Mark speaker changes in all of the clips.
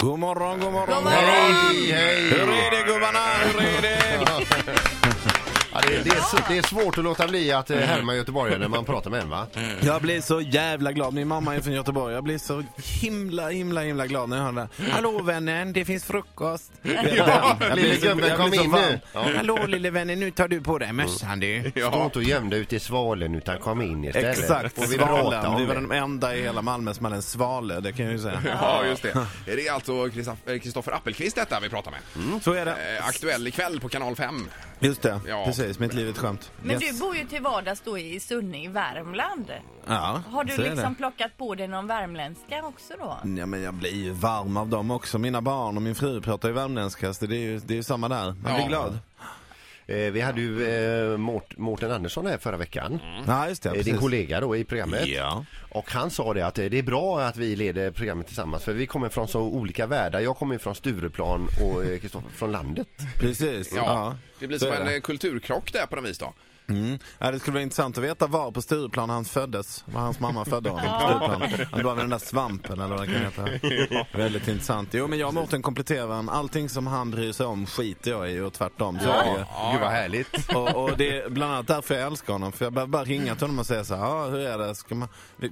Speaker 1: God morgon, god morgon. morgon.
Speaker 2: God morgon.
Speaker 3: Hej, hej.
Speaker 1: Hur är det gubbarna? Hur är det?
Speaker 3: Ja, det, det, är, s- det är svårt att låta bli att eh,
Speaker 1: Mm.
Speaker 3: härma göteborgare när man pratar med en va?
Speaker 1: Jag blir så jävla glad. Min mamma är från Göteborg. Jag blir så himla, himla, himla glad när jag hör det. här. Hallå vännen, det finns frukost.
Speaker 3: Mm. Ja,
Speaker 1: Jag
Speaker 3: lille
Speaker 1: blir så-
Speaker 3: gubben,
Speaker 1: jag
Speaker 3: kom
Speaker 1: blir så
Speaker 3: in
Speaker 1: varm.
Speaker 3: nu. Ja.
Speaker 1: Hallå lille vännen, nu tar du på dig mössan du.
Speaker 3: Stå inte och göm dig ute i svalen utan kom in istället.
Speaker 1: Exakt,
Speaker 3: Och vi pratar
Speaker 1: Svalen. Vi
Speaker 3: om
Speaker 1: var
Speaker 3: det.
Speaker 1: de enda i hela Malmö som hade en svale, det kan jag ju säga.
Speaker 2: Ja, just det. Det är alltså Kristoffer Appelqvist detta vi pratar med.
Speaker 1: Så är det.
Speaker 2: Eh, aktuell ikväll på kanal 5.
Speaker 1: Just det,
Speaker 2: Ja.
Speaker 1: precis. Mitt liv är ett skämt.
Speaker 4: Men
Speaker 1: Yes.
Speaker 4: du bor ju till vardags då i Sunne i Värmland.
Speaker 1: Ja,
Speaker 4: Har du
Speaker 1: så är
Speaker 4: liksom
Speaker 1: det.
Speaker 4: plockat på dig någon värmländska också då?
Speaker 1: Ja, men jag blir ju varm av dem också. Mina barn och min fru pratar ju värmländska, så det är ju, det är ju samma där. Man blir
Speaker 2: Ja.
Speaker 1: glad.
Speaker 3: Eh, Vi hade ju eh, Mårt- Mårten Andersson här förra veckan.
Speaker 1: Mm. Ja, just det.
Speaker 3: Eh, Din kollega då i programmet.
Speaker 1: Ja.
Speaker 3: Och han sa det att eh, det är bra att vi leder programmet tillsammans för vi kommer från så olika världar. Jag kommer från Stureplan och eh, Kristoffer från landet.
Speaker 1: Precis.
Speaker 2: Ja.
Speaker 1: Ja.
Speaker 2: Det blir
Speaker 1: så
Speaker 2: som
Speaker 1: är
Speaker 2: en
Speaker 1: det.
Speaker 2: eh, kulturkrock där på något vis då.
Speaker 1: Mm. Ja, det skulle vara intressant att veta var på Stureplan han föddes. Var hans mamma födde honom på Stureplan. Han var den där svampen eller vad det kan heta. Väldigt intressant. Jo, men jag och Mårten kompletterar varandra. Allting som han bryr sig om skiter jag i och tvärtom. Så är det ju.
Speaker 3: Gud vad härligt.
Speaker 1: Och, och det är bland annat därför jag älskar honom. För jag behöver bara ringa till honom och säga så här, ah, hur är det? Ska, man,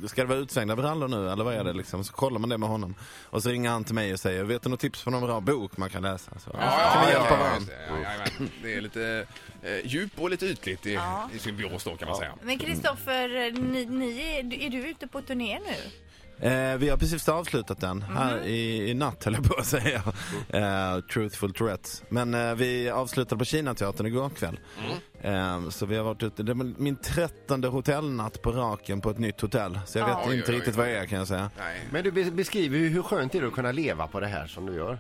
Speaker 1: ska det vara utsvängda brallor nu eller vad är det liksom? Så kollar man det med honom. Och så ringer han till mig och säger, vet du något tips på någon bra bok man kan läsa? Så, kan vi hjälpa
Speaker 2: just
Speaker 1: varandra?
Speaker 2: det. Ja, jajamän. det är lite eh, djup och lite ytligt i,
Speaker 4: Ja.
Speaker 2: i symbios då kan man säga.
Speaker 4: Men Kristoffer, ni, ni är, är du ute på turné nu?
Speaker 1: Eh, vi har precis avslutat den
Speaker 2: Mhm.
Speaker 1: här i, i natt höll jag på att säga. Eh, Truthful Tourettes. Men eh, vi avslutade på Kinateatern igår kväll.
Speaker 2: Mm.
Speaker 1: Eh, så vi har varit ute, det var min trettonde hotellnatt på raken på ett nytt hotell. Så jag
Speaker 4: Ja.
Speaker 1: vet
Speaker 2: Oj,
Speaker 1: inte
Speaker 2: oj, oj.
Speaker 1: riktigt vad det är kan jag säga.
Speaker 2: Nej.
Speaker 3: Men du be- beskriver ju hur skönt det är att kunna leva på det här som du gör.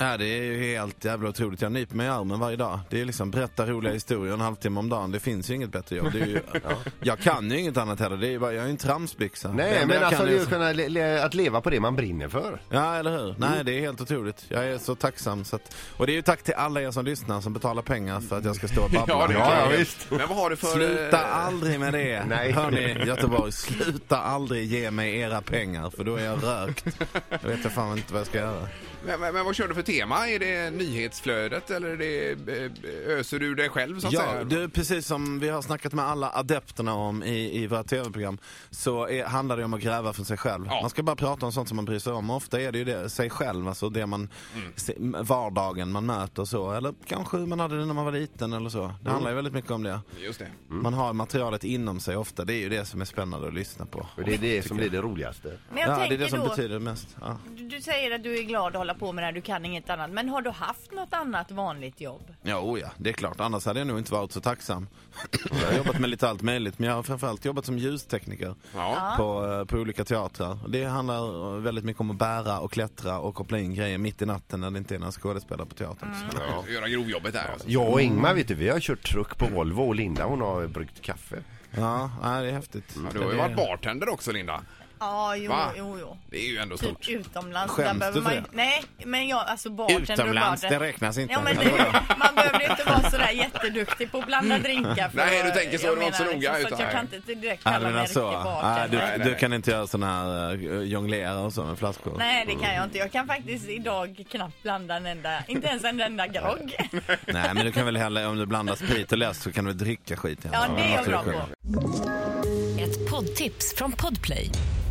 Speaker 1: Ja, det är ju helt jävla otroligt. Jag nyper mig i armen varje dag. Det är liksom berätta roliga historier en halvtimme om dagen. Det finns ju inget bättre jobb. Det är ju, Jag kan ju inget annat heller. Det är ju bara, jag är ju en tramsbyxa. Det
Speaker 3: Nej
Speaker 1: enda
Speaker 3: men
Speaker 1: jag
Speaker 3: alltså
Speaker 1: kan
Speaker 3: det är
Speaker 1: ju-
Speaker 3: att, kunna le- le- att leva på det man brinner för.
Speaker 1: Ja, eller hur? Nej, det är helt otroligt. Jag är så tacksam. Så att... Och det är ju tack till alla er som lyssnar som betalar pengar för att jag ska stå och babbla.
Speaker 2: det är
Speaker 3: Ja,
Speaker 2: klart.
Speaker 3: ja, visst.
Speaker 2: Men vad har du för...
Speaker 1: Sluta
Speaker 2: eh,
Speaker 1: aldrig med det.
Speaker 3: Nej.
Speaker 1: Hörni, Göteborg, sluta aldrig ge mig era pengar för då är jag rökt. Då vet jag fan inte vad jag ska göra.
Speaker 2: Men, men, men vad kör du för tema? Är det nyhetsflödet eller är det, eh, öser du dig själv så att
Speaker 1: Ja,
Speaker 2: säga?
Speaker 1: det är precis som vi har snackat med alla adepterna om i, i våra tv-program så är, handlar det om att gräva för sig själv.
Speaker 2: Ja.
Speaker 1: Man ska bara prata om sånt som man bryr sig om. Ofta är det ju det, sig själv, alltså det man, se- m- vardagen man möter och så. Eller kanske hur man hade det när man var liten eller så. Det handlar ju väldigt mycket om det.
Speaker 2: Just det.
Speaker 1: Man har materialet inom sig ofta. Det är ju det som är spännande att lyssna på.
Speaker 3: Och det är det som blir det roligaste.
Speaker 4: Men jag
Speaker 1: Ja, det
Speaker 4: tänker
Speaker 1: är det som
Speaker 4: då,
Speaker 1: betyder mest. Ja.
Speaker 4: du, du säger att du är glad att hålla på med det här, du kan inget annat. Men har du haft något annat vanligt jobb?
Speaker 1: Ja, oh ja, det är klart. Annars hade jag nog inte varit så tacksam. Jag har jobbat med lite allt möjligt, men jag har framförallt jobbat som ljustekniker
Speaker 2: Ja.
Speaker 1: på, eh, på olika teatrar. Och Det handlar eh, väldigt mycket om att bära och klättra och koppla in grejer mitt i natten när det inte är några skådespelare på teatern.
Speaker 4: Mm.
Speaker 2: Ja. Göra grovjobbet där. Alltså.
Speaker 3: Jag och Ingmar vet du, vi har kört truck på Volvo och Linda hon har bryggt kaffe.
Speaker 1: Ja, nej, det är häftigt.
Speaker 2: Ja, du har ju
Speaker 1: Det-
Speaker 2: varit bartender också Linda.
Speaker 4: Ja, jo,
Speaker 2: Va?
Speaker 4: jo, jo.
Speaker 2: Det är ju ändå
Speaker 4: Typ
Speaker 2: stort.
Speaker 4: utomlands.
Speaker 1: Skäms
Speaker 4: där behöver
Speaker 1: du för
Speaker 4: man,
Speaker 1: det?
Speaker 4: Nej, men jag, alltså bartender och
Speaker 1: Utomlands,
Speaker 4: bartender-
Speaker 1: det räknas inte.
Speaker 4: Ja, men det, man behöver ju inte vara sådär jätteduktig på att blanda drinkar. För
Speaker 2: Nej, du tänker så,
Speaker 4: jag
Speaker 2: det var inte så
Speaker 4: menar,
Speaker 2: noga,
Speaker 4: Liksom, så
Speaker 2: utan-
Speaker 4: att jag kan inte direkt
Speaker 1: Ja,
Speaker 4: kalla
Speaker 1: du
Speaker 4: mig
Speaker 1: menar
Speaker 4: riktig
Speaker 1: så? Ja,
Speaker 4: bartender.
Speaker 1: du,
Speaker 2: nej.
Speaker 1: du kan inte göra sådana här eh, jonglera och så med flaskor?
Speaker 4: Nej, det kan jag inte. Jag kan faktiskt idag knappt blanda en enda, inte ens en enda grogg.
Speaker 1: Nej, men du kan väl hellre, om du blandar sprit och läsk så kan du väl dricka skit i alla
Speaker 4: Ja,
Speaker 1: fall.
Speaker 4: det är jag
Speaker 1: måste du
Speaker 4: bra på.
Speaker 1: kunna.
Speaker 5: Ett poddtips från Podplay.